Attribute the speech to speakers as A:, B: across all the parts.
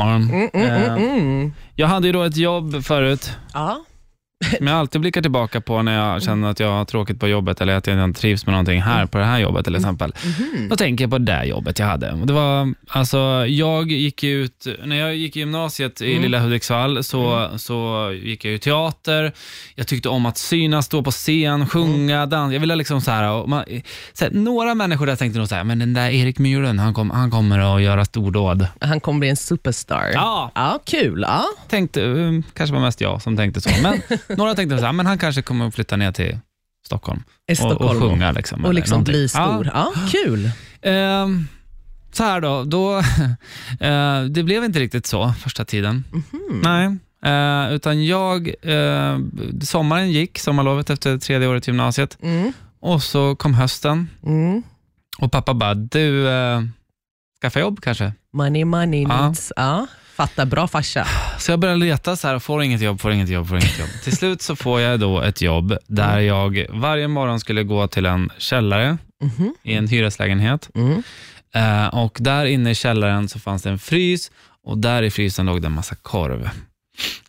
A: morgon.
B: Mm, mm,
A: Eh,
B: mm, mm.
A: Jag hade ju då ett jobb förut,
B: Ja.
A: men jag alltid blickar tillbaka på när
B: Mm.
A: jag känner att jag har tråkigt på jobbet eller att jag inte trivs med någonting här på det här jobbet till exempel.
B: Mhm.
A: Då tänker jag på det där jobbet jag hade. Och Det var, alltså, jag gick ju ut, när jag gick i gymnasiet i
B: Mm.
A: lilla Hudiksvall så, så gick jag ju teater. Jag tyckte om att synas, stå på scen, sjunga,
B: Mm.
A: dansa. Jag ville liksom så här, och man, så här, några människor där tänkte nog så här, men den där Erik Myhren, han, kom, han kommer att göra stordåd.
B: Han kommer bli en superstar.
A: Ja,
B: Ja, kul. Ja.
A: tänkte, eh, kanske var mest jag som tänkte så, men några tänkte så här, men han kanske kommer att flytta ner till Stockholm
B: I
A: och, och
B: Stockholm. Och,
A: sjunga. Liksom, eller
B: liksom
A: någonting.
B: bli
A: Ja.
B: stor. Ja. kul.
A: Ehm, så här då, då eh, det blev inte riktigt så första tiden.
B: Mhm.
A: Nej. Eh, utan jag, eh, sommaren gick, sommarlovet efter tredje året i gymnasiet
B: Mm.
A: och så kom hösten
B: Mm.
A: och pappa bara, du, eh, skaffa jobb kanske?
B: Money, money
A: Ja.
B: needs. Ja. Fatta, bra farsa.
A: Så jag började leta så här och får inget jobb, får inget jobb, får inget jobb. Till slut så får jag då ett jobb där jag varje morgon skulle gå till en källare
B: Mhm.
A: i en hyreslägenhet
B: Mm.
A: Eh, och där inne i källaren så fanns det en frys och där i frysen låg det en massa korv.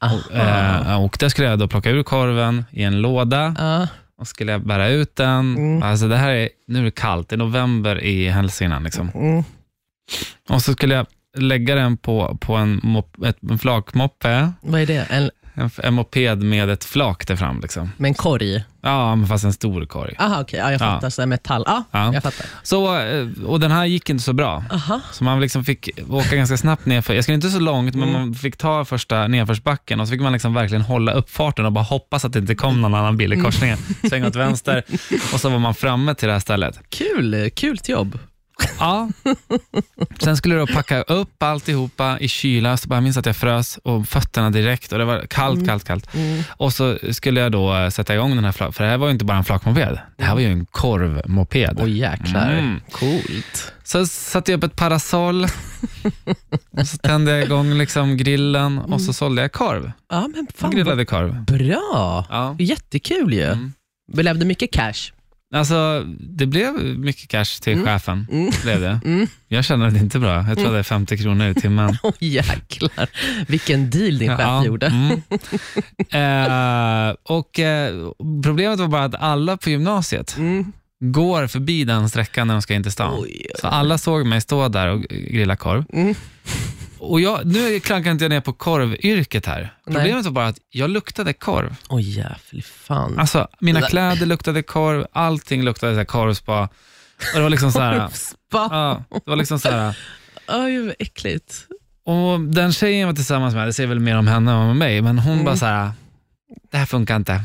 B: Aha.
A: Eh, och där skulle jag då plocka ur korven i en låda
B: Ja.
A: och skulle jag bära ut den.
B: Mm.
A: Alltså det här är, nu är det kallt, det är november i Hälsingland liksom.
B: Mm.
A: Och så skulle jag lägga den på, på en, mop, ett, en flakmoppe,
B: Vad är det? En,
A: en, f- en moped med ett flak där fram liksom.
B: med en korg?
A: Ja, men fast en stor korg.
B: Aha, okej. Ja, jag
A: Ja.
B: fattar. Så där metall. Ja,
A: Ja.
B: jag fattar.
A: Så, eh, och den här gick inte så bra.
B: Aha.
A: Så man liksom fick åka ganska snabbt nerför. Jag skulle inte så långt, men man fick ta första nedförsbacken och så fick man liksom verkligen hålla upp farten och bara hoppas att det inte kom någon annan bil i korsningen. Svänga åt vänster och så var man framme till det här stället.
B: Kul. Kul jobb.
A: Ja. Sen skulle jag då packa upp alltihopa i kyla, så bara, jag minns att jag frös och fötterna direkt och det var kallt, kallt, kallt. Och så skulle jag då eh, sätta igång den här, fla- för det här var ju inte bara en flakmoped, det här var ju en korvmoped.
B: Åh jäklar.
A: Mm.
B: Coolt.
A: Så satte jag upp ett parasoll och så tände jag igång liksom grillen och så sålde jag korv.
B: Ja, men Mm. fan
A: Grillade korv.
B: vad bra.
A: Ja.
B: Jättekul ju.
A: Mm.
B: Vi levde mycket cash.
A: Alltså, det blev mycket cash till chefen.
B: Mm.
A: Blev det.
B: Mm.
A: Jag kände det inte bra. Jag tror det är 50 kronor i timmen.
B: Åh jäklar. Vilken deal din chef
A: Ja,
B: gjorde.
A: Mm. Eh, och, eh, problemet var bara att alla på gymnasiet
B: Mm.
A: går förbi den sträckan när de ska in till stan.
B: Oj.
A: Så alla såg mig stå där och grilla korv.
B: Mm.
A: Och jag, nu klankar inte jag ner på korvyrket här.
B: Nej.
A: Problemet var bara att jag luktade korv.
B: Oj jävlar, fan.
A: Alltså, mina
B: Nej.
A: kläder luktade korv, allting luktade så här korvspa. Och det var liksom så här,
B: Korvspa.
A: ja, det var liksom så här.
B: Oj, vad äckligt.
A: Och den tjejen jag var tillsammans med, det säger väl mer om henne än om mig, men hon
B: Mm.
A: bara så här, det här funkar inte.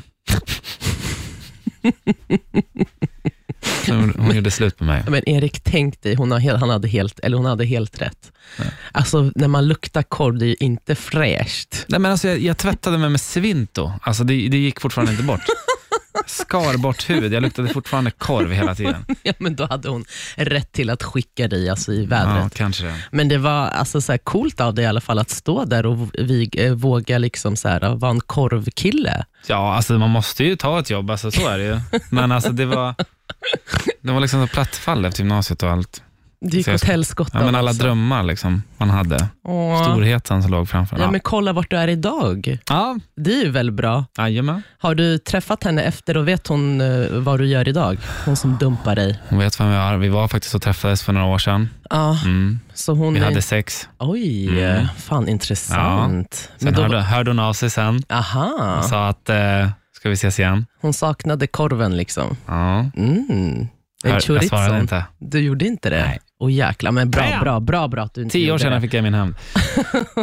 A: Så hon, hon gjorde slut på mig.
B: Men Erik, tänk dig, hon, har helt, han hade helt, eller hon hade helt rätt. Alltså, när man luktar korv, det är ju inte fräscht.
A: Nej, men alltså, jag, jag tvättade mig med Svinto. Alltså, det, det gick fortfarande inte bort. Skar bort hud. Jag luktade fortfarande korv hela tiden.
B: Ja, men då hade hon rätt till att skicka dig alltså, i vädret.
A: Ja, kanske det.
B: Men det var alltså, så här, coolt av dig i alla fall att stå där och vi, eh, våga liksom, så här, vara en korvkille.
A: Ja, alltså, man måste ju ta ett jobb. Alltså, så är det ju. Men alltså, det var, det var liksom så plattfall efter gymnasiet och allt.
B: Det gick
A: Så jag
B: åt
A: ska-
B: helskotta.
A: Ja, men alla
B: också.
A: drömmar liksom, man hade.
B: Åh.
A: Storheten som låg framför
B: Ja,
A: en.
B: men kolla vart du är idag.
A: Ja,
B: Det är ju väl bra.
A: jajamän.
B: Har du träffat henne efter och vet hon eh, vad du gör idag? Hon som dumpar dig.
A: Hon vet vem jag är. Vi var faktiskt och träffades för några år sedan.
B: Ja,
A: Mm.
B: så hon
A: Vi
B: är...
A: hade sex.
B: Oj,
A: Mm.
B: fan intressant.
A: Sen hörde, hörde hon av sig sen
B: Aha,
A: och sa att, eh, ska vi ses igen?
B: hon saknade korven liksom.
A: Ja.
B: Mm. En
A: Hör- Jag svarade
B: chorizo.
A: inte.
B: Du gjorde inte det?
A: Nej.
B: Åh jäklar, men bra,
A: Bam!
B: bra, bra, bra att du inte
A: Tio år
B: gjorde
A: sedan
B: det.
A: fick jag min hämnd.